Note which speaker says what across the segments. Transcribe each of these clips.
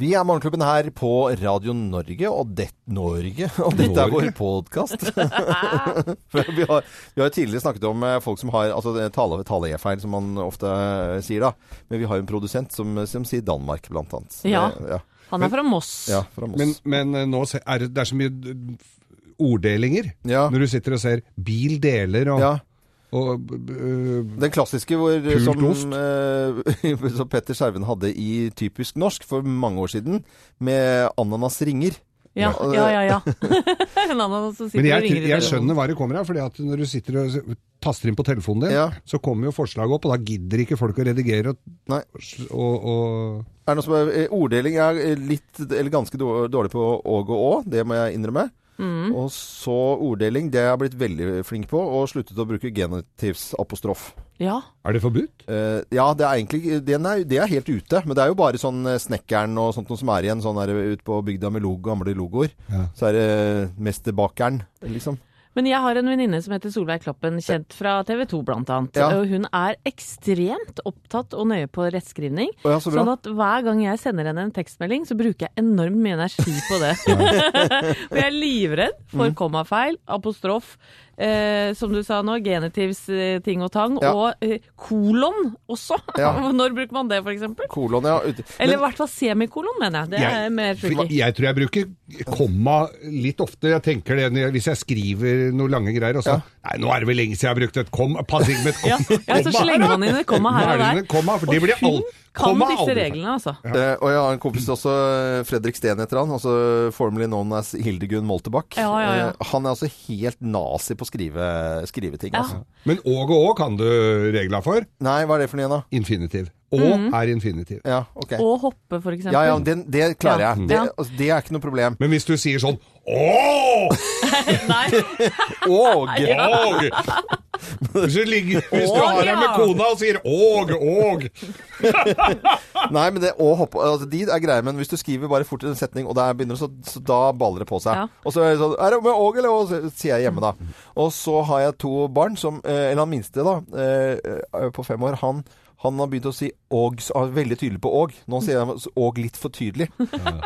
Speaker 1: Vi er Morgenklubben her på Radio Norge, og, det, Norge, og dette er vår podkast. vi har vi har jo tidligere snakket om eh, folk som har altså, det er tale, tale-e-feil, som man ofte eh, sier da. Men vi har jo en produsent som, eh, som sier Danmark, blant annet.
Speaker 2: Ja.
Speaker 1: Det- ja.
Speaker 2: Han er fra Moss.
Speaker 1: ja fra Moss.
Speaker 3: Men, men eh, nå se- er det, det er så mye eh, orddelinger
Speaker 1: Ja.
Speaker 3: når du sitter og ser bil deler og,
Speaker 1: ja.
Speaker 3: og eh,
Speaker 1: Den klassiske hvor,
Speaker 3: Pult
Speaker 1: som,
Speaker 3: ost.
Speaker 1: eh, som Petter Skjerven hadde i typisk norsk for mange år siden, med ananasringer.
Speaker 2: Ja,
Speaker 1: Ja.
Speaker 2: ja, ja. ja. en annen som sitter
Speaker 3: Men
Speaker 2: og
Speaker 3: jeg,
Speaker 2: ringer
Speaker 3: jeg
Speaker 2: i telefonen.
Speaker 3: skjønner hva det kommer av, fordi at når du sitter og s- taster inn på telefonen din,
Speaker 1: Ja.
Speaker 3: så kommer jo forslaget opp, og da gidder ikke folk å redigere og,
Speaker 1: Nei.
Speaker 3: og, og
Speaker 1: Er det noe som er, eh, orddeling er eh, litt, eller ganske dår- dårlig på åg og å, det må jeg innrømme.
Speaker 2: Mm.
Speaker 1: Og så orddeling, det har jeg blitt veldig flink på, og sluttet å bruke genitivsapostrof.
Speaker 2: Ja.
Speaker 3: Er det forbudt?
Speaker 1: Eh, ja, det er egentlig, den er, det er helt ute, men det er jo bare sånn eh, snekkeren og sånt noe som er igjen, sånn her ute på bygda med logo, gamle logoer.
Speaker 3: Ja.
Speaker 1: Så er det mesterbakeren, liksom.
Speaker 2: Men jeg har en venninne som heter Solveig Kloppen, kjent fra TV 2 blant annet.
Speaker 1: Ja.
Speaker 2: Og Hun er ekstremt opptatt og nøye på rettskrivning.
Speaker 1: Å ja, så bra.
Speaker 2: Sånn at hver gang jeg sender henne en tekstmelding, så bruker jeg enormt mye energi på det. For jeg er livredd
Speaker 1: Mm.
Speaker 2: for kommafeil, apostrof, eh, som du sa nå, genitivs eh, ting og tang,
Speaker 1: Ja.
Speaker 2: og eh, kolon også.
Speaker 1: Ja.
Speaker 2: Når bruker man det, for eksempel?
Speaker 1: Kolon, ja. Ut.
Speaker 2: Eller i
Speaker 1: Men,
Speaker 2: hvert fall semikolon, mener jeg. Det er
Speaker 3: Jeg-
Speaker 2: mer
Speaker 3: Jeg,
Speaker 2: tricky.
Speaker 3: jeg tror jeg bruker komma litt ofte. Jeg tenker det når jeg, hvis jeg skriver noe lange greier, og så Nei, nå er det vel lenge siden jeg har brukt et komma. Pass ikke med et
Speaker 2: Ja,
Speaker 3: kom,
Speaker 2: ja, så
Speaker 3: komma
Speaker 2: slenger
Speaker 3: her, da.
Speaker 2: man inn et komma her
Speaker 3: Nå er
Speaker 2: og
Speaker 3: det
Speaker 2: der.
Speaker 3: en komma, for det blir
Speaker 2: hun
Speaker 3: all-
Speaker 2: kan
Speaker 3: komma
Speaker 2: disse
Speaker 3: aldri.
Speaker 2: reglene, altså.
Speaker 1: eh, og jeg har en kompis også, eh, Fredrik Steen heter han, altså formerly known as Hildegunn Moltebakk.
Speaker 2: Ja, ja, ja.
Speaker 1: Eh, han er altså helt nazi på å skrive, skrive ting,
Speaker 2: Ja.
Speaker 1: altså.
Speaker 3: Men åg og å kan du regla for.
Speaker 1: Nei, hva er det for noe igjen da?
Speaker 3: Infinitiv. Å
Speaker 2: Mhm.
Speaker 3: er infinitiv.
Speaker 1: Ja, ok.
Speaker 2: Og hoppe, for eksempel.
Speaker 1: Ja, ja, den, det klarer
Speaker 2: Ja.
Speaker 1: jeg. Det,
Speaker 2: Ja.
Speaker 1: altså, det er ikke noe problem.
Speaker 3: Men hvis du sier sånn ååå
Speaker 2: Nei,
Speaker 1: Og
Speaker 3: Og! Hvis du, ligger, hvis du
Speaker 2: Og,
Speaker 3: har
Speaker 2: ja.
Speaker 3: deg med kona og sier åg, åg
Speaker 1: Nei, men det å hoppe altså, De er greie, men hvis du skriver bare fort en setning, og der begynner det, så, så da baller det på seg.
Speaker 2: Ja.
Speaker 1: Og så er det sånn Er det med og eller å? Så sier jeg hjemme, da. Og så har jeg to barn som eh, Eller han minste, da, eh, eh, på fem år. Han han har begynt å si og, så er han veldig tydelig på og. Nå sier jeg og litt for tydelig.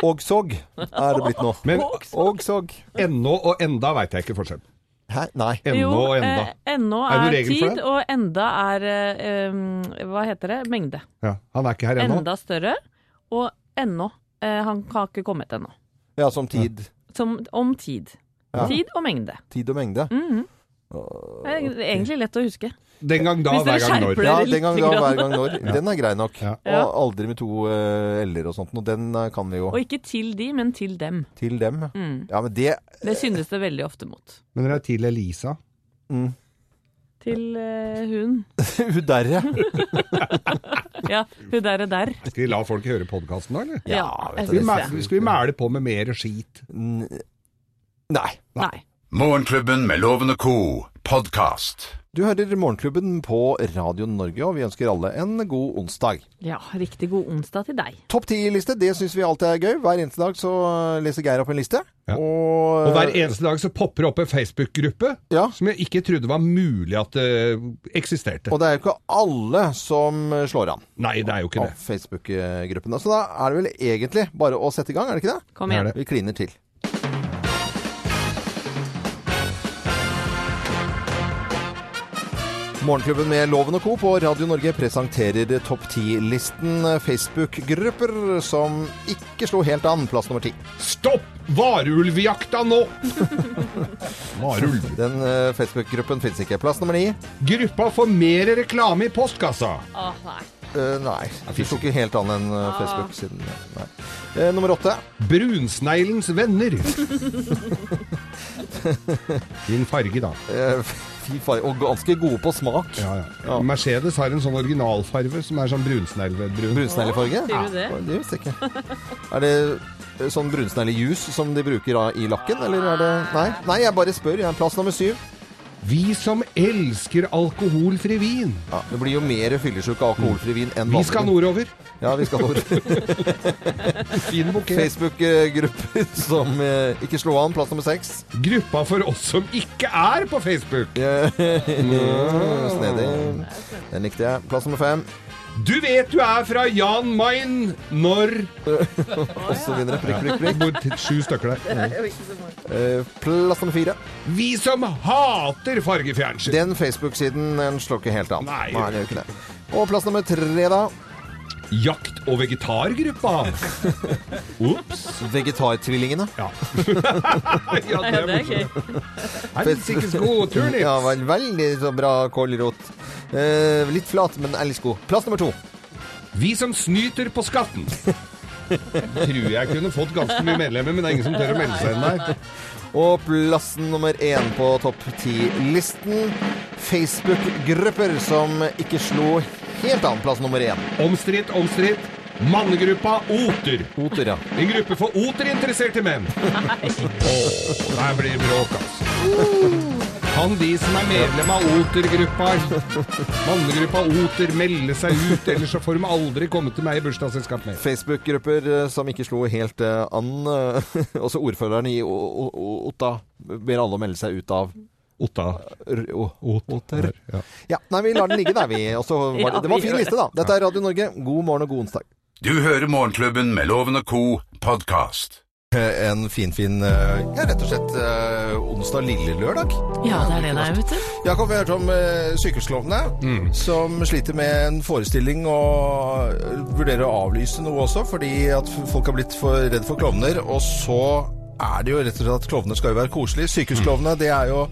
Speaker 1: Og-sog er det blitt nå.
Speaker 3: Men-
Speaker 1: Og-sog.
Speaker 3: Ennå og enda veit jeg ikke forskjell.
Speaker 1: Hæ? Nei.
Speaker 3: Ennå
Speaker 2: jo,
Speaker 3: og enda.
Speaker 2: eh, ennå
Speaker 3: Er det noen
Speaker 2: er,
Speaker 3: regel for
Speaker 2: tid,
Speaker 3: det?
Speaker 2: og enda er eh, um, Hva heter det? Mengde.
Speaker 3: Ja, han er ikke her ennå.
Speaker 2: Enda større, og ennå. Eh, han har ikke kommet ennå.
Speaker 1: Ja, som tid.
Speaker 2: Som om tid.
Speaker 1: Ja.
Speaker 2: Tid og mengde. Mhm.
Speaker 1: Tid og mengde.
Speaker 2: Det er egentlig lett å huske.
Speaker 3: Den gang da,
Speaker 2: Hvis
Speaker 3: hver
Speaker 2: dere
Speaker 3: gang
Speaker 2: skjerper
Speaker 3: når.
Speaker 2: dere.
Speaker 1: Ja,
Speaker 2: det
Speaker 1: den gang
Speaker 2: lite
Speaker 1: da,
Speaker 2: grann.
Speaker 1: hver gang når. Den er grei nok.
Speaker 3: Ja.
Speaker 2: Ja.
Speaker 1: Og aldri med to eh, l-er og sånt. Og den eh, kan vi jo.
Speaker 2: Og ikke til de, men til dem.
Speaker 1: Til dem. Ja, men det
Speaker 2: Det synes det veldig ofte mot.
Speaker 3: Men det er til Elisa.
Speaker 2: Til eh, hun.
Speaker 1: Hun derre.
Speaker 2: Ja, hun der og der.
Speaker 3: Skal vi la folk høre podkasten da, eller?
Speaker 2: Ja,
Speaker 3: Skal
Speaker 2: jeg
Speaker 3: vi,
Speaker 2: synes
Speaker 3: mæ-
Speaker 2: det.
Speaker 3: skal vi mæle på med mer skit?
Speaker 1: Nei.
Speaker 2: Nei.
Speaker 4: Morgenklubben med Loven og Co. podkast.
Speaker 1: Du hører Morgenklubben på Radio Norge, og vi ønsker alle en god onsdag.
Speaker 2: Ja, riktig god onsdag til deg.
Speaker 1: Topp ti-liste, det syns vi alltid er gøy. Hver eneste dag så leser Geir opp en liste.
Speaker 3: Ja.
Speaker 1: Og,
Speaker 3: Og hver eneste dag så popper det opp en Facebook-gruppe
Speaker 1: Ja.
Speaker 3: som jeg ikke trodde var mulig at det eksisterte.
Speaker 1: og det er jo ikke alle som slår an
Speaker 3: Nei, det er jo ikke
Speaker 1: av
Speaker 3: det.
Speaker 1: Facebook-gruppene. Så da er det vel egentlig bare å sette i gang, er det ikke det?
Speaker 2: Kom
Speaker 3: Det er
Speaker 2: igjen.
Speaker 3: det.
Speaker 1: Vi kliner til. Morgenklubben med Loven og Co. på Radio Norge presenterer Topp 10-listen Facebook-grupper som ikke slo helt an. Plass nummer ti.
Speaker 3: Stopp varulvjakta nå! Varulv.
Speaker 1: Den eh, Facebook-gruppen fins ikke. Plass nummer ni.
Speaker 3: Gruppa får mer reklame i postkassa.
Speaker 2: Åh, nei.
Speaker 1: Eh, nei, det slo ikke helt an en eh, Facebook siden Nei. Eh, nummer åtte.
Speaker 3: Brunsneglens venner. Din farge, da.
Speaker 1: Eh, fy faen, og ganske gode på smak.
Speaker 3: Ja, ja. Mercedes har en sånn originalfarve som er sånn brunsneglebrun.
Speaker 1: Brunsneglefarge?
Speaker 2: Sier du det?
Speaker 1: Ja, det visste jeg ikke. Er det eh, sånn brunsneglejus som de bruker da i lakken, eller er det
Speaker 2: Ah.
Speaker 1: Nei, Nei jeg bare spør. Jeg er plass nummer syv.
Speaker 3: Vi som elsker alkoholfri vin.
Speaker 1: Ja, det blir jo mer fyllesyk av alkoholfri vin enn
Speaker 3: Vi skal nordover.
Speaker 1: Ja, vi skal nord.
Speaker 3: Fin bukett.
Speaker 1: Facebook-grupper som eh, ikke slo an. Plass nummer seks.
Speaker 3: Gruppa for oss som ikke er på Facebook. Ah.
Speaker 1: Eh, Snedig. Den likte jeg. Plass nummer fem.
Speaker 3: Du vet du er fra Jan Mayen når
Speaker 1: og så videre. Prikk, prikk, prikk.
Speaker 3: Hvor t- Sju stykker der.
Speaker 1: Eh, Plass nummer fire.
Speaker 3: Vi som hater fargefjernsyn.
Speaker 1: Den Facebook-siden den slår ikke helt an.
Speaker 3: Nei.
Speaker 1: Nei det gjør ikke det. Og plass nummer tre, da.
Speaker 3: Jakt- og vegetargruppa. Ops.
Speaker 1: Vegetartvillingene.
Speaker 3: Ja. ja,
Speaker 2: Ja, det er gøy.
Speaker 3: Helsikes god turnips.
Speaker 1: Ja, var en veldig så bra kålrot. Eh, litt flat, men ellers god. Plass nummer to.
Speaker 3: Vi som snyter på skatten. Tror jeg kunne fått ganske mye medlemmer, men det er ingen som tør å melde seg inn der.
Speaker 1: Og plassen nummer én på topp ti-listen. Facebook-grupper som ikke slo helt an. Plass nummer én.
Speaker 3: Omstridt, omstridt. Mannegruppa Oter.
Speaker 1: Oter, ja.
Speaker 3: En gruppe for oterinteresserte menn. Åh, der blir bråk, altså. Kan de som er medlem av Oter-gruppa, mannegruppa Oter, melde seg ut, ellers så får de aldri komme til meg i bursdagsselskap mer.
Speaker 1: Facebook-grupper eh, som ikke slo helt eh, an. eh, Også ordføreren i O- O- O- Otta ber alle å melde seg ut av
Speaker 3: Otta.
Speaker 1: R- O-
Speaker 3: Oter. Ja.
Speaker 1: Ja, nei, vi lar den ligge der, vi. Og så var det, det var en fin liste, da. Dette er Radio Norge. God morgen og god onsdag.
Speaker 4: Du hører Morgenklubben med Loven og Co. podcast.
Speaker 1: Eh, En finfin fin, eh, ja, rett og slett eh, onsdag lille lørdag.
Speaker 2: Ja, det er det det er, vet du.
Speaker 1: Jakob, vi har hørt om eh, Sykehusklovnene, som sliter med en forestilling og eh, vurderer å avlyse noe også, fordi at f- folk har blitt for redde for klovner. Og så er det jo rett og slett at klovner skal jo være koselige. Sykehusklovnene, det er jo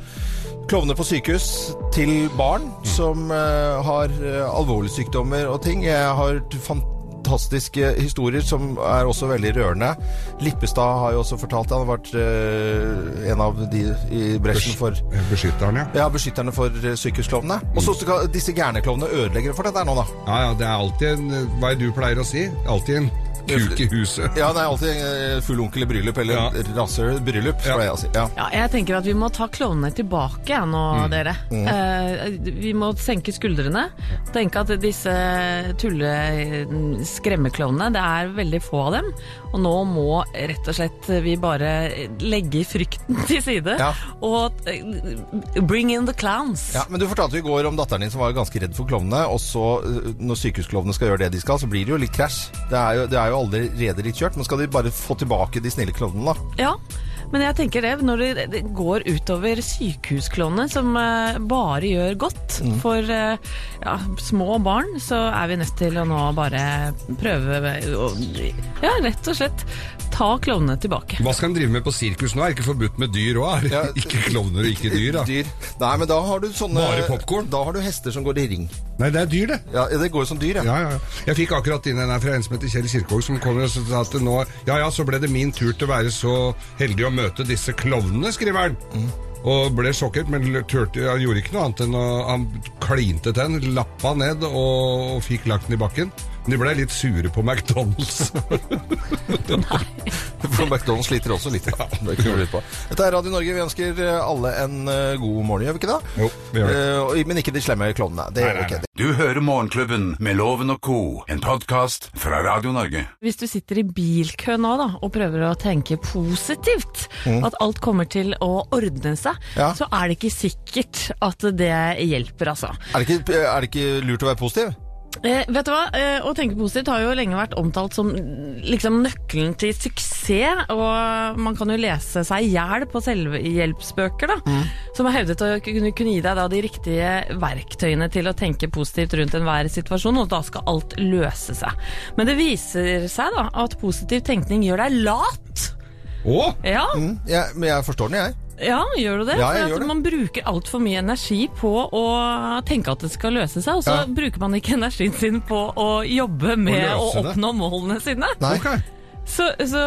Speaker 1: klovner på sykehus til barn som eh, har eh, alvorlige sykdommer og ting. Jeg har t- fantastiske historier som er også veldig rørende. Lippestad har jo også fortalt det. Han har vært eh, en av de i bresjen for
Speaker 3: Beskytteren, ja.
Speaker 1: ja, beskytterne for eh, sykehusklovnene. Og så skal disse gærne klovnene ødelegge for dette her nå, da.
Speaker 3: Ja, ja, det er alltid en Hva er det du pleier å si? Alltid en kuk i huset.
Speaker 1: Ja, det er alltid eh, full onkel i bryllup, eller
Speaker 3: Ja.
Speaker 1: ja. rasshøl i bryllup,
Speaker 3: Ja.
Speaker 1: pleier jeg å si. Ja.
Speaker 2: Ja, jeg tenker at vi må ta klovnene tilbake ja, nå, dere. Eh, vi må senke skuldrene. Tenke at disse tulle-skremmeklovnene, det er veldig få av dem. Og nå må rett og slett vi bare legge frykten til side.
Speaker 1: Ja.
Speaker 2: Og eh, bring in the clowns.
Speaker 1: Ja, men Du fortalte jo i går om datteren din som var ganske redd for klovnene. Og så, eh, når sykehusklovnene skal gjøre det de skal, så blir det jo litt krasj. Det er jo, det er jo allerede litt kjørt. Men skal de bare få tilbake de snille klovnene, da?
Speaker 2: Ja, men jeg tenker det, når det- det går utover sykehusklovnene, som eh, bare gjør godt for eh, ja, små barn, så er vi nødt til å nå bare prøve å Ja, rett og slett ta klovnene tilbake.
Speaker 3: Hva skal en drive med på sirkus nå? Er ikke forbudt med dyr òg?
Speaker 1: Ja.
Speaker 3: Ikke klovner og ikke dyr, da.
Speaker 1: Nei, men da har du sånne
Speaker 3: Bare popcorn?
Speaker 1: Da har du hester som går i ring.
Speaker 3: Nei, det er dyr, det.
Speaker 1: Ja, det går jo som dyr, ja.
Speaker 3: Ja, ja. ja. Jeg fikk akkurat inn en her fra en som heter Kjell Kirkevåg, som kommer og sa at nå Ja ja, så ble det min tur til å være så heldig å møte disse klovnene, skriver han. Og ble sjokkert, men l- turte, han gjorde ikke noe annet enn å Han klinte til den, lappa ned og, og fikk lagt den i bakken. Men de ble litt sure på McDonald's.
Speaker 1: For McDonald's sliter også litt. Ja. Det kan vi lure på. Dette er Radio Norge. Vi ønsker eh, alle en eh, god morgen, gjør vi ikke det?
Speaker 3: Jo, vi gjør det.
Speaker 1: Eh, og- Men ikke de slemme klovnene. Det
Speaker 3: Nei,
Speaker 1: gjør vi
Speaker 3: nei,
Speaker 1: ikke.
Speaker 4: Du hører Morgenklubben med Loven og Co. En podcast fra Radio Norge.
Speaker 2: Hvis du sitter i bilkø nå da, og prøver å tenke positivt, at alt kommer til å ordne seg,
Speaker 1: Ja.
Speaker 2: så er det ikke sikkert at det hjelper, altså.
Speaker 1: Er, det ikke, eh, er det ikke lurt å være positiv?
Speaker 2: Eh, vet du hva? Eh, å tenke positivt har jo lenge vært omtalt som liksom, nøkkelen til suksess, og man kan jo lese seg i hjel på selvhjelpsbøker, da, som har hevdet å kunne, kunne gi deg da, de riktige verktøyene til å tenke positivt rundt enhver situasjon, og da skal alt løse seg. Men det viser seg da at positiv tenkning gjør deg lat.
Speaker 3: Å!
Speaker 2: Ja,
Speaker 1: Hm? Ja, men jeg forstår den, jeg.
Speaker 2: ja gjør du det?
Speaker 1: Ja, jeg
Speaker 2: For
Speaker 1: gjør det.
Speaker 2: at man bruker altfor mye energi på å tenke at det skal løse seg, og så
Speaker 1: Ja.
Speaker 2: bruker man ikke energien sin på å jobbe med
Speaker 3: løse
Speaker 2: å
Speaker 3: det.
Speaker 2: oppnå målene sine.
Speaker 1: Nei.
Speaker 3: Ok.
Speaker 2: Så, så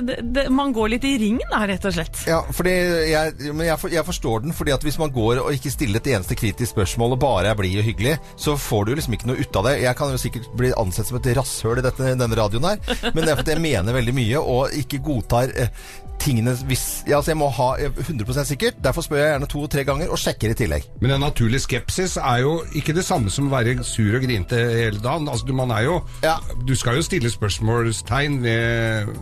Speaker 2: det, det, man går litt i ring da, rett og slett.
Speaker 1: Ja, fordi jeg, men jeg, for, jeg forstår den, fordi at hvis man går og ikke stiller et eneste kritisk spørsmål og bare er blid og hyggelig, så får du liksom ikke noe ut av det. Jeg kan jo sikkert bli ansett som et rasshøl i dette, denne radioen her, men det er fordi jeg mener veldig mye og ikke godtar eh, tingene hvis ja, altså Jeg må ha eh, 100 sikkert, derfor spør jeg gjerne to-tre ganger og sjekker i tillegg.
Speaker 3: Men en naturlig skepsis er jo ikke det samme som å være sur og grinte hele dagen. Altså, du, man er jo,
Speaker 1: Ja.
Speaker 3: du skal jo stille spørsmålstegn ved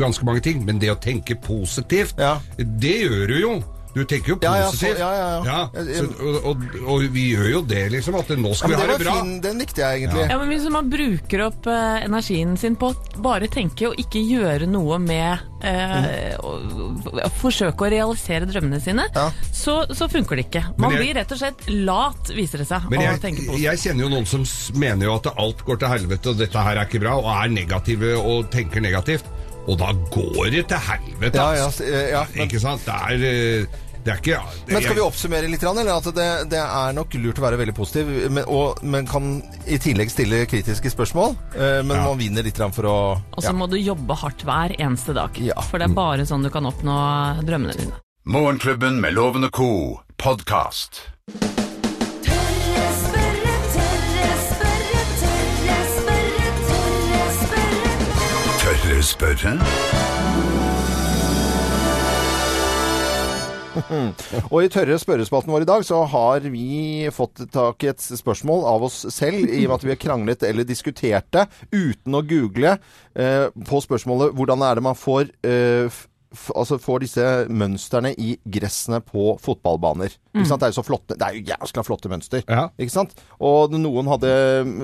Speaker 3: ganske mange ting, men det å tenke positivt,
Speaker 1: Ja.
Speaker 3: det gjør du jo. Du tenker jo
Speaker 1: Ja, ja, så-
Speaker 3: positivt.
Speaker 1: ja, ja, ja.
Speaker 3: så, og, og, og vi gjør jo det, liksom. At nå
Speaker 1: Ja,
Speaker 3: skal
Speaker 1: men
Speaker 3: vi
Speaker 1: det
Speaker 3: ha det
Speaker 1: var
Speaker 3: bra.
Speaker 1: fin, den likte jeg egentlig.
Speaker 2: Ja, men Hvis man bruker opp eh, energien sin på å bare tenke og ikke gjøre noe med eh, å- å Forsøke å realisere drømmene sine,
Speaker 1: Mm. Ja.
Speaker 2: så, så funker det ikke. Man
Speaker 3: jeg-
Speaker 2: blir rett og slett lat, viser det seg.
Speaker 3: Men
Speaker 2: av å
Speaker 3: jeg,
Speaker 2: tenke på
Speaker 3: jeg kjenner jo noen som s- mener jo at alt går til helvete, og dette her er ikke bra, og er negative og tenker negativt. Og da går det til helvete,
Speaker 1: Ja, ja,
Speaker 3: altså.
Speaker 1: s- eh, ja, men-
Speaker 3: Ikke sant? Det er, eh, det er ikke ja, det,
Speaker 1: Men skal vi
Speaker 3: jeg-
Speaker 1: oppsummere litt, grann, eller? At det, det er nok lurt å være veldig positiv, men, og, men kan i tillegg stille kritiske spørsmål. eh, Men
Speaker 3: Ja.
Speaker 1: man vinner litt grann for å
Speaker 2: Og så
Speaker 1: ja.
Speaker 2: må du jobbe hardt hver eneste dag.
Speaker 1: Ja.
Speaker 2: For det er bare sånn du kan oppnå drømmene dine.
Speaker 4: Morgenklubben med Loven og Co. podkast.
Speaker 5: Tørre spørre, tørre spørre, tørre spørre, tørre spørre.
Speaker 4: Tør dere spørre?
Speaker 1: Og i tørre spørrespalten vår i dag så har vi fått tak i et spørsmål av oss selv, i og med at vi har kranglet eller diskutert det uten å google eh, på spørsmålet hvordan er det man får eh, f- f- Altså får disse mønstrene i gressene på fotballbaner. Ikke sant? Det er jo så flotte Det er jo jævla flotte mønster.
Speaker 3: Ja.
Speaker 1: Ikke sant? Og noen hadde mm,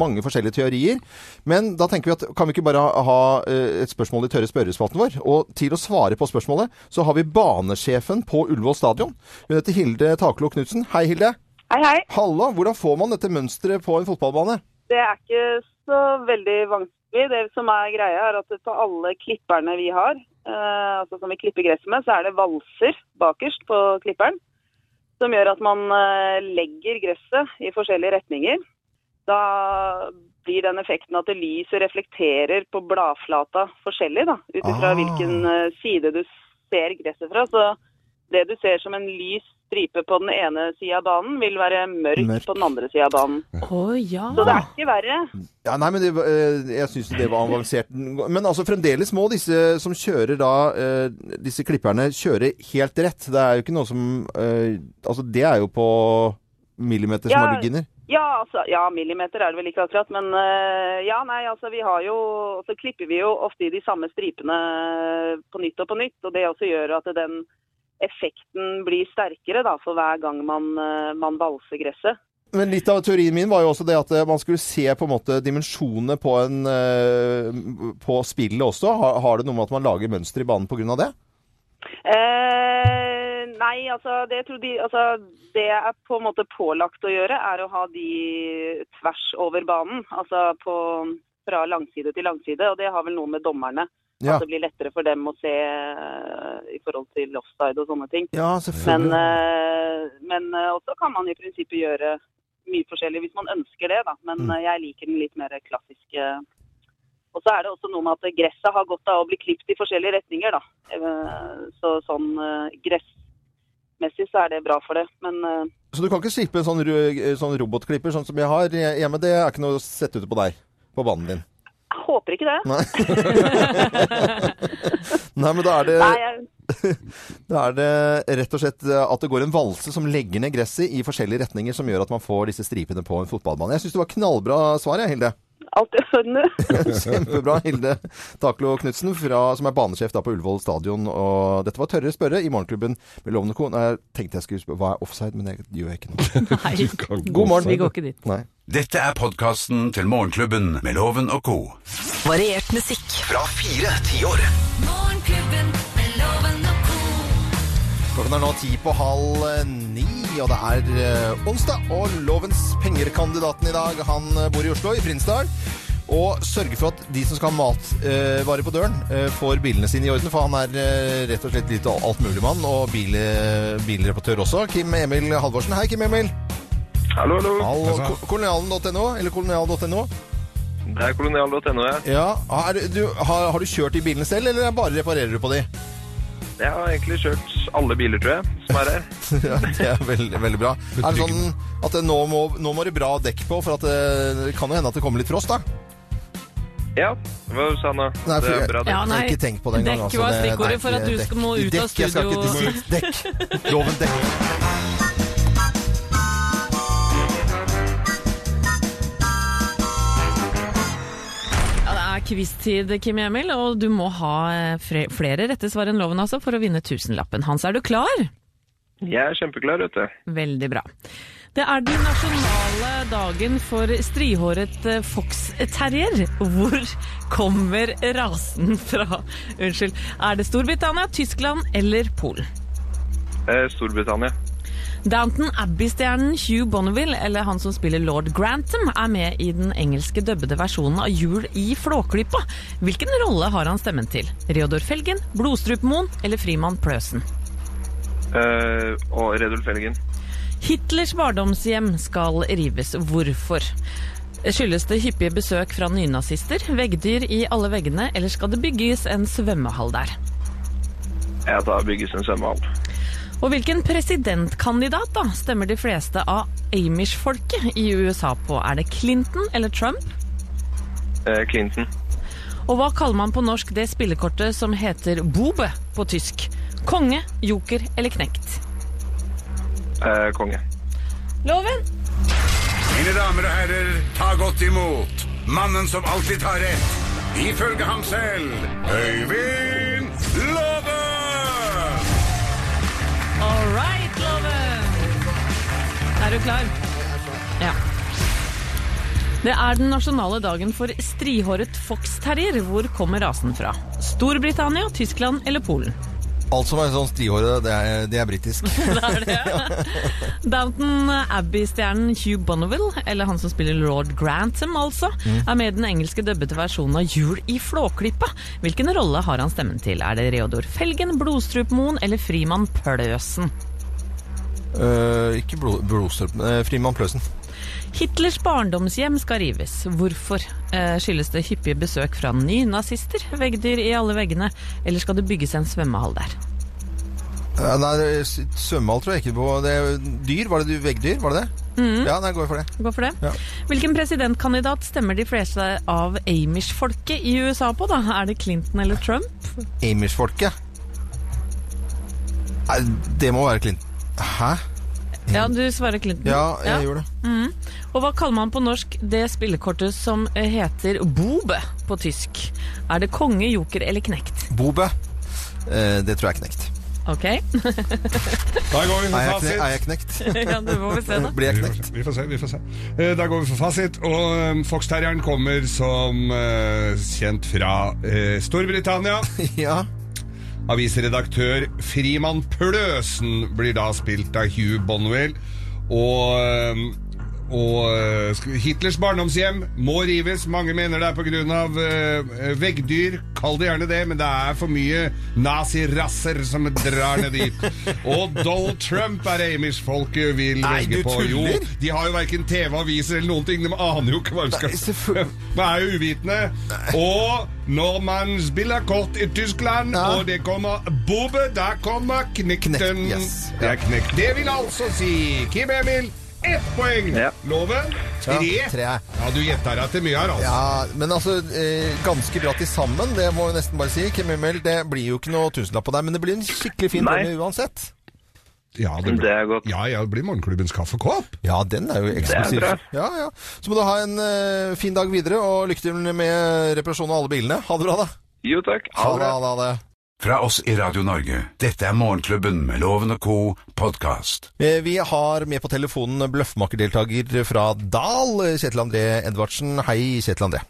Speaker 1: mange forskjellige teorier. Men da tenker vi at kan vi ikke bare ha, ha eh, et spørsmål i tørre spørrespalten vår? Og til å svare på spørsmålet, så har vi banesjefen på Ullevål stadion. Hun heter Hilde Taklo Knutsen. Hei, Hilde.
Speaker 6: Hei, hei.
Speaker 1: Halla, hvordan får man dette mønsteret på en fotballbane?
Speaker 6: Det er ikke så veldig vanskelig. Det som er greia, er at på alle klipperne vi har, eh, altså som vi klipper gresset med, så er det valser bakerst på klipperen. Som gjør at man eh, legger gresset i forskjellige retninger. Da blir den effekten at det lyset reflekterer på bladflata forskjellig, da. Ut ifra
Speaker 1: Ah.
Speaker 6: hvilken eh, side du ser gresset fra. Så det du ser som en lys stripe på den ene sida av banen, vil være
Speaker 1: Mørk.
Speaker 6: mørkt på den andre sida av banen.
Speaker 2: Å ja!
Speaker 6: Så det er ikke verre.
Speaker 1: Ja, nei, men det, var- eh, Jeg syns det var avansert. Men altså, fremdeles må disse som kjører da eh, Disse klipperne kjøre helt rett. Det er jo ikke noe som eh, Altså, det er jo på millimetersmarginer.
Speaker 6: Ja, altså, ja, millimeter er det vel ikke akkurat, men eh, ja, nei, altså vi har jo Så klipper vi jo ofte i de samme stripene på nytt og på nytt, og det også gjør at den effekten blir sterkere da, for hver gang man, eh, man valser gresset.
Speaker 1: Men litt av teorien min var jo også det at eh, man skulle se på en måte dimensjonene på, en, eh, på spillet også. Har, har det noe med at man lager mønster i banen pga. det?
Speaker 6: Eh, nei, altså det, tror de, altså det er på en måte pålagt å gjøre, er å ha de tvers over banen. Altså på, fra langside til langside, og det har vel noe med dommerne.
Speaker 1: Ja.
Speaker 6: At det blir lettere for dem å se eh, i forhold til offside og sånne ting.
Speaker 1: Ja,
Speaker 6: Men,
Speaker 1: selvfølgelig.
Speaker 6: eh, men eh, også kan man i prinsippet gjøre mye forskjellig hvis man ønsker det, da. Men
Speaker 1: Mm.
Speaker 6: eh, jeg liker den litt mer klassiske. Og så er det også noe med at gresset har godt av å bli klippet i forskjellige retninger, da. Eh, Så sånn eh, gressmessig så er det bra for det. Men eh,
Speaker 1: Så du kan ikke slippe en sånn, ru- sånn robotklipper sånn som jeg har hjemme? Det er ikke noe å sette ut på deg, på banen din.
Speaker 6: jeg håper ikke det.
Speaker 1: Nei. Nei, men da er,
Speaker 6: Nei,
Speaker 1: det,
Speaker 6: jeg,
Speaker 1: da er det rett og slett eh, at det går en valse som legger ned gresset i forskjellige retninger, som gjør at man får disse stripene på en fotballbane. Jeg syns det var knallbra svar, jeg, Hilde.
Speaker 6: alt jeg
Speaker 1: Kjempebra, Hilde Taklo Knutsen, fra- som er banesjef da på Ullevål stadion. Og dette var Tørre spørre i Morgenklubben med Lovende Co. Nei, Jeg tenkte jeg skulle spørre hva er offside, men det gjør jeg ikke nå.
Speaker 2: Nei,
Speaker 1: God morgen.
Speaker 2: vi går ikke dit.
Speaker 1: Nei.
Speaker 4: Dette er podkasten til Morgenklubben med Loven og Co.
Speaker 7: Variert musikk
Speaker 8: Fra fire tiår.
Speaker 5: Morgenklubben med loven og ko.
Speaker 1: Klokken er nå ti på halv eh, ni, og det er eh, onsdag. Og Lovens penger-kandidaten i dag, han eh, bor i Oslo, i Prinsdal. Og sørger for at de som skal ha matvarer på døren, eh, får bilene sine i orden. For han er eh, rett og slett litt altmuligmann, og bil, eh, bilreportør også. Kim Emil Halvorsen. Hei, Kim Emil.
Speaker 9: Hallo, hallo.
Speaker 1: Hallo,
Speaker 3: Hei,
Speaker 1: ko- kolonialen.no, eller kolonial.no.
Speaker 9: Det er kolonial.no, ja.
Speaker 1: Ja, er, du- du, har, har du kjørt de bilene selv, eller bare reparerer du på de?
Speaker 9: Jeg har egentlig kjørt alle biler, tror jeg, som er her.
Speaker 1: Ja, det er veldig, veldig bra. Er det sånn at det nå må, nå må det bra dekk på, for at eh, det det kan jo hende at det kommer litt frost, da?
Speaker 9: Ja, hva sa han da?
Speaker 1: Nei,
Speaker 9: Det
Speaker 1: for-
Speaker 9: er bra, det.
Speaker 2: Ja, nei,
Speaker 1: ikke tenk på det engang. altså.
Speaker 2: dekk var
Speaker 1: Det-
Speaker 2: stikkordet
Speaker 1: nei,
Speaker 2: for at du
Speaker 1: dekk.
Speaker 2: skal- må ut av
Speaker 1: Dekk, jeg skal ikke
Speaker 2: studio.
Speaker 1: dis- Dekk. Loven dekk.
Speaker 2: Ja, det er quiz-tid, Kim Emil, og du må ha eh, fre- flere rette svar enn loven altså for å vinne tusenlappen. Hans, er du klar?
Speaker 9: Jeg er kjempeklar, vet du.
Speaker 2: Veldig bra. Det er den nasjonale dagen for strihåret eh, foxterrier. Hvor kommer rasen fra? Unnskyld. Er det Storbritannia, Tyskland eller Polen?
Speaker 9: Eh, Storbritannia.
Speaker 2: Downton Abbey-stjernen Hugh Bonneville, eller han som spiller lord Grantham, er med i den engelske dubbede versjonen av Jul i Flåklypa. Hvilken rolle har han stemmen til? Reodor Felgen, Blodstrupmoen eller Frimann Pløsen?
Speaker 9: Eh, og Redulf Elgen.
Speaker 2: Hitlers barndomshjem skal rives. Hvorfor? Skyldes det hyppige besøk fra nynazister, veggdyr i alle veggene, eller skal det bygges en svømmehall der?
Speaker 9: Jeg tar bygges en svømmehall.
Speaker 2: Og hvilken presidentkandidat da stemmer de fleste av Amish-folket i USA på? Er det Clinton eller Trump?
Speaker 9: Eh, Clinton.
Speaker 2: Og hva kaller man på norsk det spillekortet som heter Bobe på tysk? Konge, joker eller knekt?
Speaker 9: Eh, konge.
Speaker 2: Loven!
Speaker 4: Mine damer og herrer, ta godt imot mannen som alltid tar rett. Ifølge ham selv Øyvind Låve!
Speaker 2: All right, Loven! Er du klar? Ja. Det er den nasjonale dagen for strihåret foxterrier. Hvor kommer rasen fra? Storbritannia, Tyskland eller Polen?
Speaker 1: Alt som er sånn strihåret, det er, det er britisk.
Speaker 2: Downton Abbey-stjernen Hugh Bonneville, eller han som spiller lord Grantham, altså, er med i den engelske dubbete versjonen av Jul i Flåklypa. Hvilken rolle har han stemmen til? Er det Reodor Felgen, Blodstrupmoen eller Frimann Pløsen?
Speaker 1: Eh, ikke blod, blodstrøm... eh, Frimann Pløsen.
Speaker 2: Hitlers barndomshjem skal rives. Hvorfor? Eh, skyldes det hyppige besøk fra nynazister, veggdyr i alle veggene, eller skal det bygges en svømmehall der?
Speaker 1: Eh, nei, det- s- svømmehall tror jeg ikke på. Det er dyr, var det du, veggdyr? Var det det?
Speaker 2: Mm.
Speaker 1: Ja, nei, går jeg for det.
Speaker 2: Gå for det.
Speaker 1: Ja.
Speaker 2: Hvilken presidentkandidat stemmer de fleste av Amish-folket i USA på, da? Er det Clinton eller Trump?
Speaker 1: Amish-folket. Nei, det må være Clinton. Hæ?
Speaker 2: Ja, du svarer Clinton.
Speaker 1: Ja, jeg
Speaker 2: Ja.
Speaker 1: gjorde det.
Speaker 2: Og hva kaller man på norsk det spillekortet som heter Bobe på tysk? Er det konge, joker eller knekt?
Speaker 1: Bobe. Eh, det tror jeg er knekt.
Speaker 2: Ok,
Speaker 3: Da går
Speaker 1: Er
Speaker 3: vi for
Speaker 1: jeg, kne,
Speaker 3: fasit.
Speaker 1: er jeg knekt?
Speaker 2: ja, det må vi se da.
Speaker 1: Blir jeg
Speaker 3: Vi får,
Speaker 1: knekt?
Speaker 3: se, vi får se. vi får se. Eh, Da går vi for fasit. Og eh, Foxterrieren kommer som eh, kjent fra eh, Storbritannia.
Speaker 1: Ja.
Speaker 3: Avisredaktør Frimann Pløsen blir da spilt av Hugh Bonwell. Og, øhm, og øh, sk- Hitlers barndomshjem må rives. Mange mener det er pga. Øh, veggdyr. Kall det gjerne det, men det er for mye nazirasser som drar ned dit. Og Donald Trump er det Amish-folket vil
Speaker 1: Nei,
Speaker 3: velge
Speaker 1: du
Speaker 3: på. Jo,
Speaker 1: tuller?
Speaker 3: de har jo verken TV, aviser eller noen ting. De aner jo ikke hva de skal
Speaker 1: Nei, selvfølgelig.
Speaker 3: Man er jo uvitende. Og når man spiller kort i Tyskland,
Speaker 1: Ja.
Speaker 3: og det kommer Bobbe, da kommer knekten.
Speaker 1: Knekt, yes.
Speaker 3: Det er knekt. Det vil altså si Kim Emil, ett poeng.
Speaker 9: Ja.
Speaker 3: Love, tre.
Speaker 1: Ja, tre.
Speaker 3: Ja, du gjetter deg til mye her, altså.
Speaker 1: ja. Men altså, eh, ganske bra til sammen, det må vi nesten bare si. Kim Emil, det blir jo ikke noe tusenlapp på deg, men det blir en skikkelig fin
Speaker 9: Nei.
Speaker 1: premie uansett.
Speaker 3: Ja,
Speaker 9: Det er godt.
Speaker 3: Ja, ja, det blir morgenklubbens kaffekopp.
Speaker 1: Ja, den er jo eksklusiv.
Speaker 9: bra.
Speaker 1: Ja, ja. Så må du ha en eh, fin dag videre, og lykke til med reparasjon av alle bilene. Ha det bra, da.
Speaker 9: Jo takk.
Speaker 1: Ha det, ha det, ha det.
Speaker 4: Fra oss i Radio Norge, dette er Morgenklubben med Loven og Co. podkast.
Speaker 1: Eh, Vi har med på telefonen bløffmakerdeltaker fra Dal, Kjetil André Edvardsen. Hei, Kjetil André.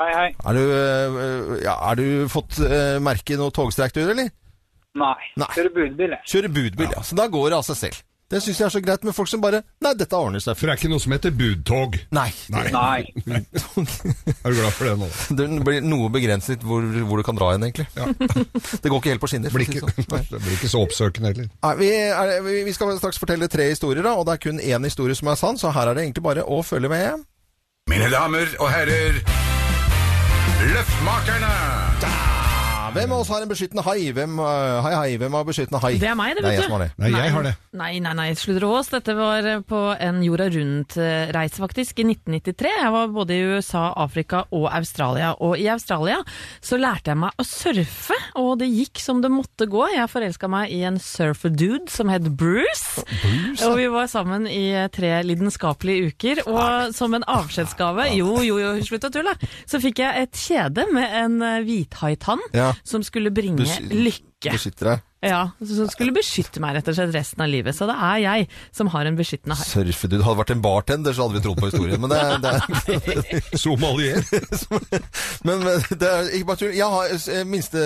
Speaker 7: Hei, hei.
Speaker 1: Er du, eh, ja, er du fått eh, merke noe togstreik du gjør, eller?
Speaker 7: Nei.
Speaker 1: Nei.
Speaker 7: Kjører budbil, jeg.
Speaker 1: Kjører budbil, ja. Så da går det av seg selv. Det syns jeg er så greit med folk som bare Nei, dette ordner seg.
Speaker 3: For det er ikke noe som heter budtog.
Speaker 1: Nei.
Speaker 3: Nei.
Speaker 7: Nei.
Speaker 3: Er du glad for det nå? da?
Speaker 1: Det blir noe begrenset hvor, hvor du kan dra hen, egentlig. det går ikke helt på skinner. for å si det
Speaker 3: Blir ikke,
Speaker 1: sånn. Nei.
Speaker 3: det blir ikke så oppsøkende heller.
Speaker 1: Nei, vi, er, vi- vi skal straks fortelle tre historier, da, og det er kun én historie som er sann, så her er det egentlig bare å følge med.
Speaker 4: Mine damer og herrer, Løftmakerne!
Speaker 1: Ja, Hvem av oss har en beskyttende hai? Hvem, øh, hei, hei, hvem har beskyttende hai?
Speaker 2: Det er meg, det,
Speaker 1: Det er
Speaker 2: vet
Speaker 1: jeg som har det.
Speaker 3: Nei, jeg har det.
Speaker 2: Nei, nei, nei, sludder og vås. Dette var eh, på en jorda rundt-reise, faktisk, i 1993. Jeg var både i USA, Afrika og Australia. Og i Australia så lærte jeg meg å surfe, og det gikk som det måtte gå. Jeg forelska meg i en surfer-dude som het Bruce. Og vi var sammen i eh, tre lidenskapelige uker. Og som en avskjedsgave, jo, jo, jo, slutt å tulle, så fikk jeg et kjede med en eh, hvithaitann
Speaker 1: Ja.
Speaker 2: som skulle bringe
Speaker 1: Besky-
Speaker 2: lykke.
Speaker 1: Beskytter deg.
Speaker 2: Ja, som skulle beskytte meg rett og slett resten av livet. Så det er jeg som har en beskyttende hai.
Speaker 1: Surfedude. Hadde vært en bartender, så hadde vi trodd på historien. Men det, det er
Speaker 3: Somalier.
Speaker 1: Men men, det er ikke bare tull. Jeg har eh, minste,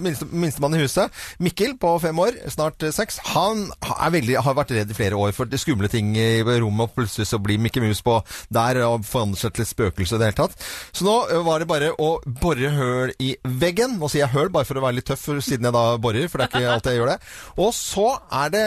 Speaker 1: minste, minstemann i huset. Mikkel på fem år, snart eh, seks. Han er veldig, har vært redd i flere år for det skumle ting i rommet, og plutselig så blir Mikke Mus på der og forandrer seg til et spøkelse i det hele tatt. Så nå eh, var det bare å bore høl i veggen. Nå sier jeg høl bare for å være litt tøff, for- siden jeg da borer, for det er ikke alltid jeg gjør det. Og så er det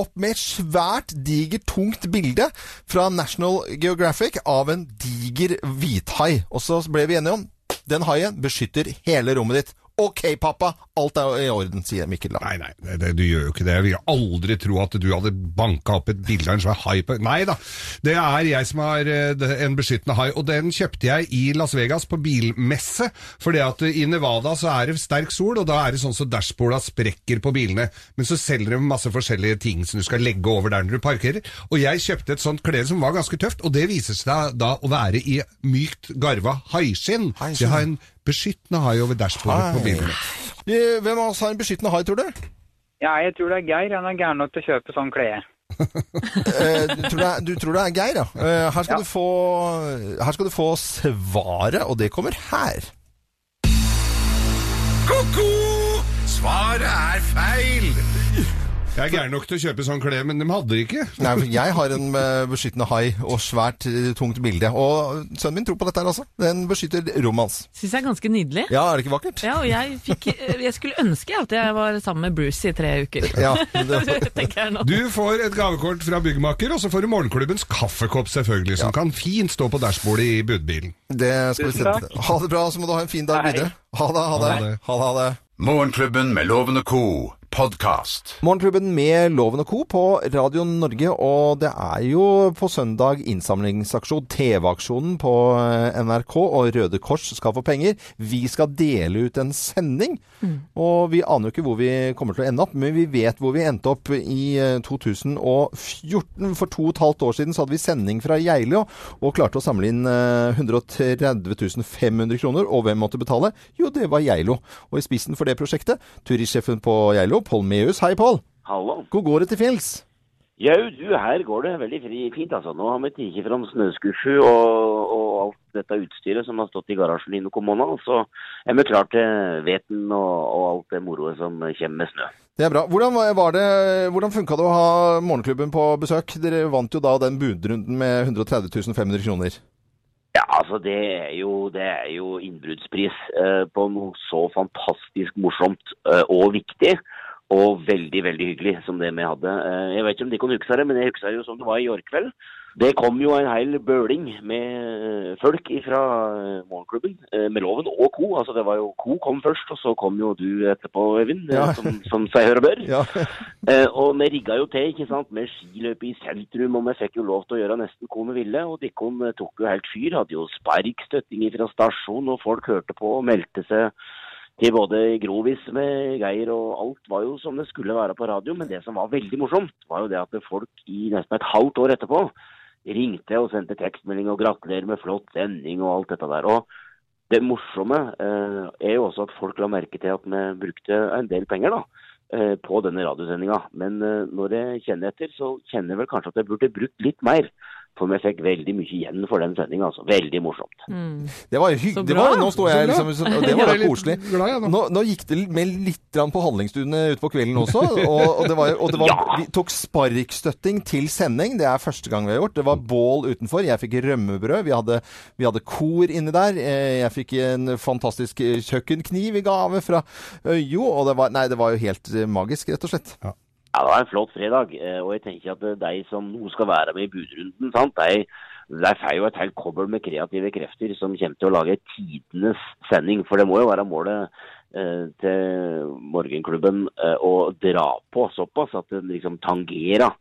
Speaker 1: opp med et svært digert, tungt bilde fra National Geographic av en diger hvithai. Og så ble vi enige om den haien beskytter hele rommet ditt. Ok, pappa, alt er i orden, sier Mikkel da.
Speaker 3: Nei, nei, det, det, du gjør jo ikke det. Jeg vil aldri tro at du hadde banka opp et bilde av en svær hai på Nei da, det er jeg som har eh, det- en beskyttende hai, og den kjøpte jeg i Las Vegas på bilmesse. For det at eh, i Nevada så er det sterk sol, og da er det sånn så dashborda sprekker på bilene. Men så selger de masse forskjellige ting som du skal legge over der når du parkerer. Og jeg kjøpte et sånt klede som var ganske tøft, og det viser seg da, da å være i mykt garva haiskinn.
Speaker 1: Haiskinn.
Speaker 3: Så jeg har en beskyttende hai over dashbordet på bilen.
Speaker 1: Eh, Hvem av oss har en beskyttende hai, tror du?
Speaker 7: Ja, jeg tror det er Geir. Han er gæren nok til å kjøpe sånn klede.
Speaker 1: Eh, du, tror det er, du tror det er Geir, ja. Eh, her, skal
Speaker 7: Ja.
Speaker 1: du få, her skal du få svaret, og det kommer her.
Speaker 4: Ko-ko! Svaret er feil!
Speaker 3: Jeg er gæren nok til å kjøpe sånn klær, men de hadde det ikke.
Speaker 1: Nei, for jeg har en eh, beskyttende hai og svært eh, tungt bilde. Og sønnen min tror på dette her også. Den beskytter rommet hans.
Speaker 2: Syns jeg er ganske nydelig.
Speaker 1: Ja, er det ikke vakkert?
Speaker 2: Ja, og jeg, fikk, eh, jeg skulle ønske at jeg var sammen med Bruce i tre uker.
Speaker 1: Ja, det,
Speaker 2: Tenker jeg nå.
Speaker 3: Du får et gavekort fra byggmaker, og så får du morgenklubbens kaffekopp, selvfølgelig, som kan fint stå på dashbordet i budbilen.
Speaker 1: det skal vi
Speaker 7: Tusen
Speaker 1: sende til. Ha det bra, så må du ha en fin dag
Speaker 7: Hei.
Speaker 1: videre. Ha det, ha det.
Speaker 3: Ha det.
Speaker 1: Ha det, ha det.
Speaker 4: Morgenklubben med Loven og Co. Podcast.
Speaker 1: Morgenklubben med Loven og Co. på Radio Norge, og det er jo på søndag innsamlingsaksjon, TV-aksjonen på eh, NRK, og Røde Kors skal få penger. Vi skal dele ut en sending, og vi aner jo ikke hvor vi kommer til å ende opp, men vi vet hvor vi endte opp i eh, 2014. For to og et halvt år siden så hadde vi sending fra Geilo, og klarte å samle inn eh, 130 500 kroner, og hvem måtte betale? Jo, det var Geilo. Og i spissen for det prosjektet, turistsjefen på Geilo, Pål Meus. Hei, Pål!
Speaker 8: Hallo.
Speaker 1: Hvor går det til fjells?
Speaker 8: Jau, du, her går det veldig fri, fint, altså. Nå har vi tatt fram snøskuffy og, og alt dette utstyret som har stått i garasjen i noen måneder. Så er vi klar til veten og, og alt det moroet som kommer med snø.
Speaker 1: Det er bra. Hvordan, var- var det, hvordan funka det å ha morgenklubben på besøk? Dere vant jo da den budrunden med 130 500 kroner.
Speaker 8: Ja, altså det er jo, det er jo innbruddspris eh, på noe så fantastisk morsomt eh, og viktig. Og veldig, veldig hyggelig som det vi hadde. Eh, jeg vet ikke om de kan huske det, men jeg husker det jo som det var i går kveld. Det kom jo en hel bøling med eh, folk fra morgenklubben, eh, med Loven og Co. Altså det var jo Co kom først, og så kom jo du etterpå, Øyvind, eh,
Speaker 1: Ja.
Speaker 8: som, som seg hør og bør.
Speaker 1: Ja.
Speaker 8: Eh, og vi rigga jo til ikke sant, med skiløype i sentrum, og vi fikk jo lov til å gjøre nesten hva vi ville. Og Dikkon eh, tok jo helt fyr. Hadde jo sparkstøtting fra stasjonen, og folk hørte på og meldte seg til både Grovis med Geir og alt var jo som det skulle være på radio. Men det som var veldig morsomt, var jo det at folk i nesten et halvt år etterpå ringte og sendte tekstmelding og gratulerer med flott sending og alt dette der. og det morsomme eh, er jo også at folk la merke til at vi brukte en del penger da, eh, på denne radiosendinga. Men eh, når jeg kjenner etter, så kjenner jeg vel kanskje at jeg burde brukt litt mer. For vi fikk veldig mye igjen for den sendinga. Altså. Veldig morsomt.
Speaker 2: Mm.
Speaker 1: Det var
Speaker 2: Så
Speaker 1: hyggelig.
Speaker 2: bra.
Speaker 1: Nå står jeg
Speaker 3: Så
Speaker 1: liksom
Speaker 3: bra.
Speaker 1: og Det var
Speaker 3: Jeg er
Speaker 1: da
Speaker 3: litt
Speaker 1: koselig.
Speaker 3: Glad, jeg, nå.
Speaker 1: Nå, nå gikk det med litt grann på handlingsstuene utpå kvelden også. Og, og, det var, og det var,
Speaker 8: Ja.
Speaker 1: vi tok sparkstøtting til sending. Det er første gang vi har gjort. Det var bål utenfor. Jeg fikk rømmebrød. Vi hadde, vi hadde kor inni der. Eh, Jeg fikk en fantastisk eh, kjøkkenkniv i gave fra Øyo. Og det var, nei, det var jo helt eh, magisk, rett og slett.
Speaker 8: Ja, det var en flott fredag. eh, Og jeg tenker at eh, de som nå skal være med i budrunden, sant? de Leif er jo et helt kobbel med kreative krefter som kommer til å lage tidenes sending. For det må jo være målet eh, til morgenklubben eh, å dra på såpass at den liksom tangerer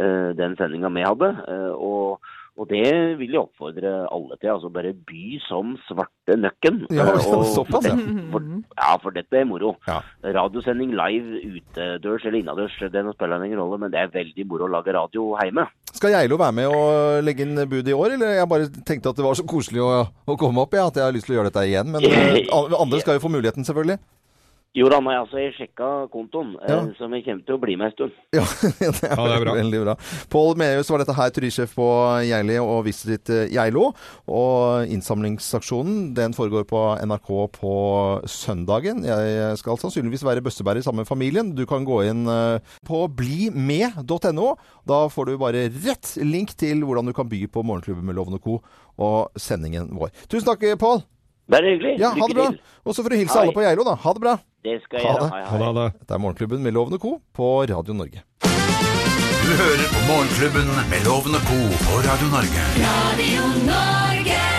Speaker 8: eh, den sendinga vi hadde. Eh, og, og det vil jeg oppfordre alle til. altså Bare by som svarte nøkken.
Speaker 1: Ja,
Speaker 8: Eh, og,
Speaker 1: såpass, ja.
Speaker 8: For, ja, for dette er moro.
Speaker 1: Ja.
Speaker 8: Radiosending live utedørs eller innendørs, det spiller ingen rolle, men det er veldig moro å lage radio hjemme.
Speaker 1: Skal Geilo være med og legge inn bud i år, eller jeg bare tenkte at det var så koselig å, å komme opp, ja, at jeg har lyst til å gjøre dette igjen. Men eh, andre skal jo få muligheten, selvfølgelig.
Speaker 8: Jo da, nei, altså, jeg sjekka kontoen, eh,
Speaker 1: Ja.
Speaker 8: som jeg kommer til å bli med en stund.
Speaker 1: Ja, det er,
Speaker 3: Ja, det er bra.
Speaker 1: veldig bra. Pål Mehus var dette her, turistsjef på Geili og Visit Geilo. Og innsamlingsaksjonen den foregår på NRK på søndagen. Jeg skal sannsynligvis være bøssebærer sammen med familien. Du kan gå inn eh, på blimed.no. Da får du bare rett link til hvordan du kan by på Morgenklubben med Loven og Co. og sendingen vår. Tusen takk, eh, Pål.
Speaker 8: Bare hyggelig.
Speaker 1: Ja, ha det bra.
Speaker 8: til.
Speaker 1: Og så får du hilse
Speaker 8: Hei.
Speaker 1: alle på Geilo, da. Ha det bra.
Speaker 8: Det skal
Speaker 1: Ha
Speaker 8: jeg
Speaker 1: det.
Speaker 8: gjøre. Hei, hei.
Speaker 1: Dette er Morgenklubben med Loven og Co. på Radio Norge.
Speaker 4: Du hører på Morgenklubben med Loven og Co. på Radio Norge.
Speaker 5: Radio Norge.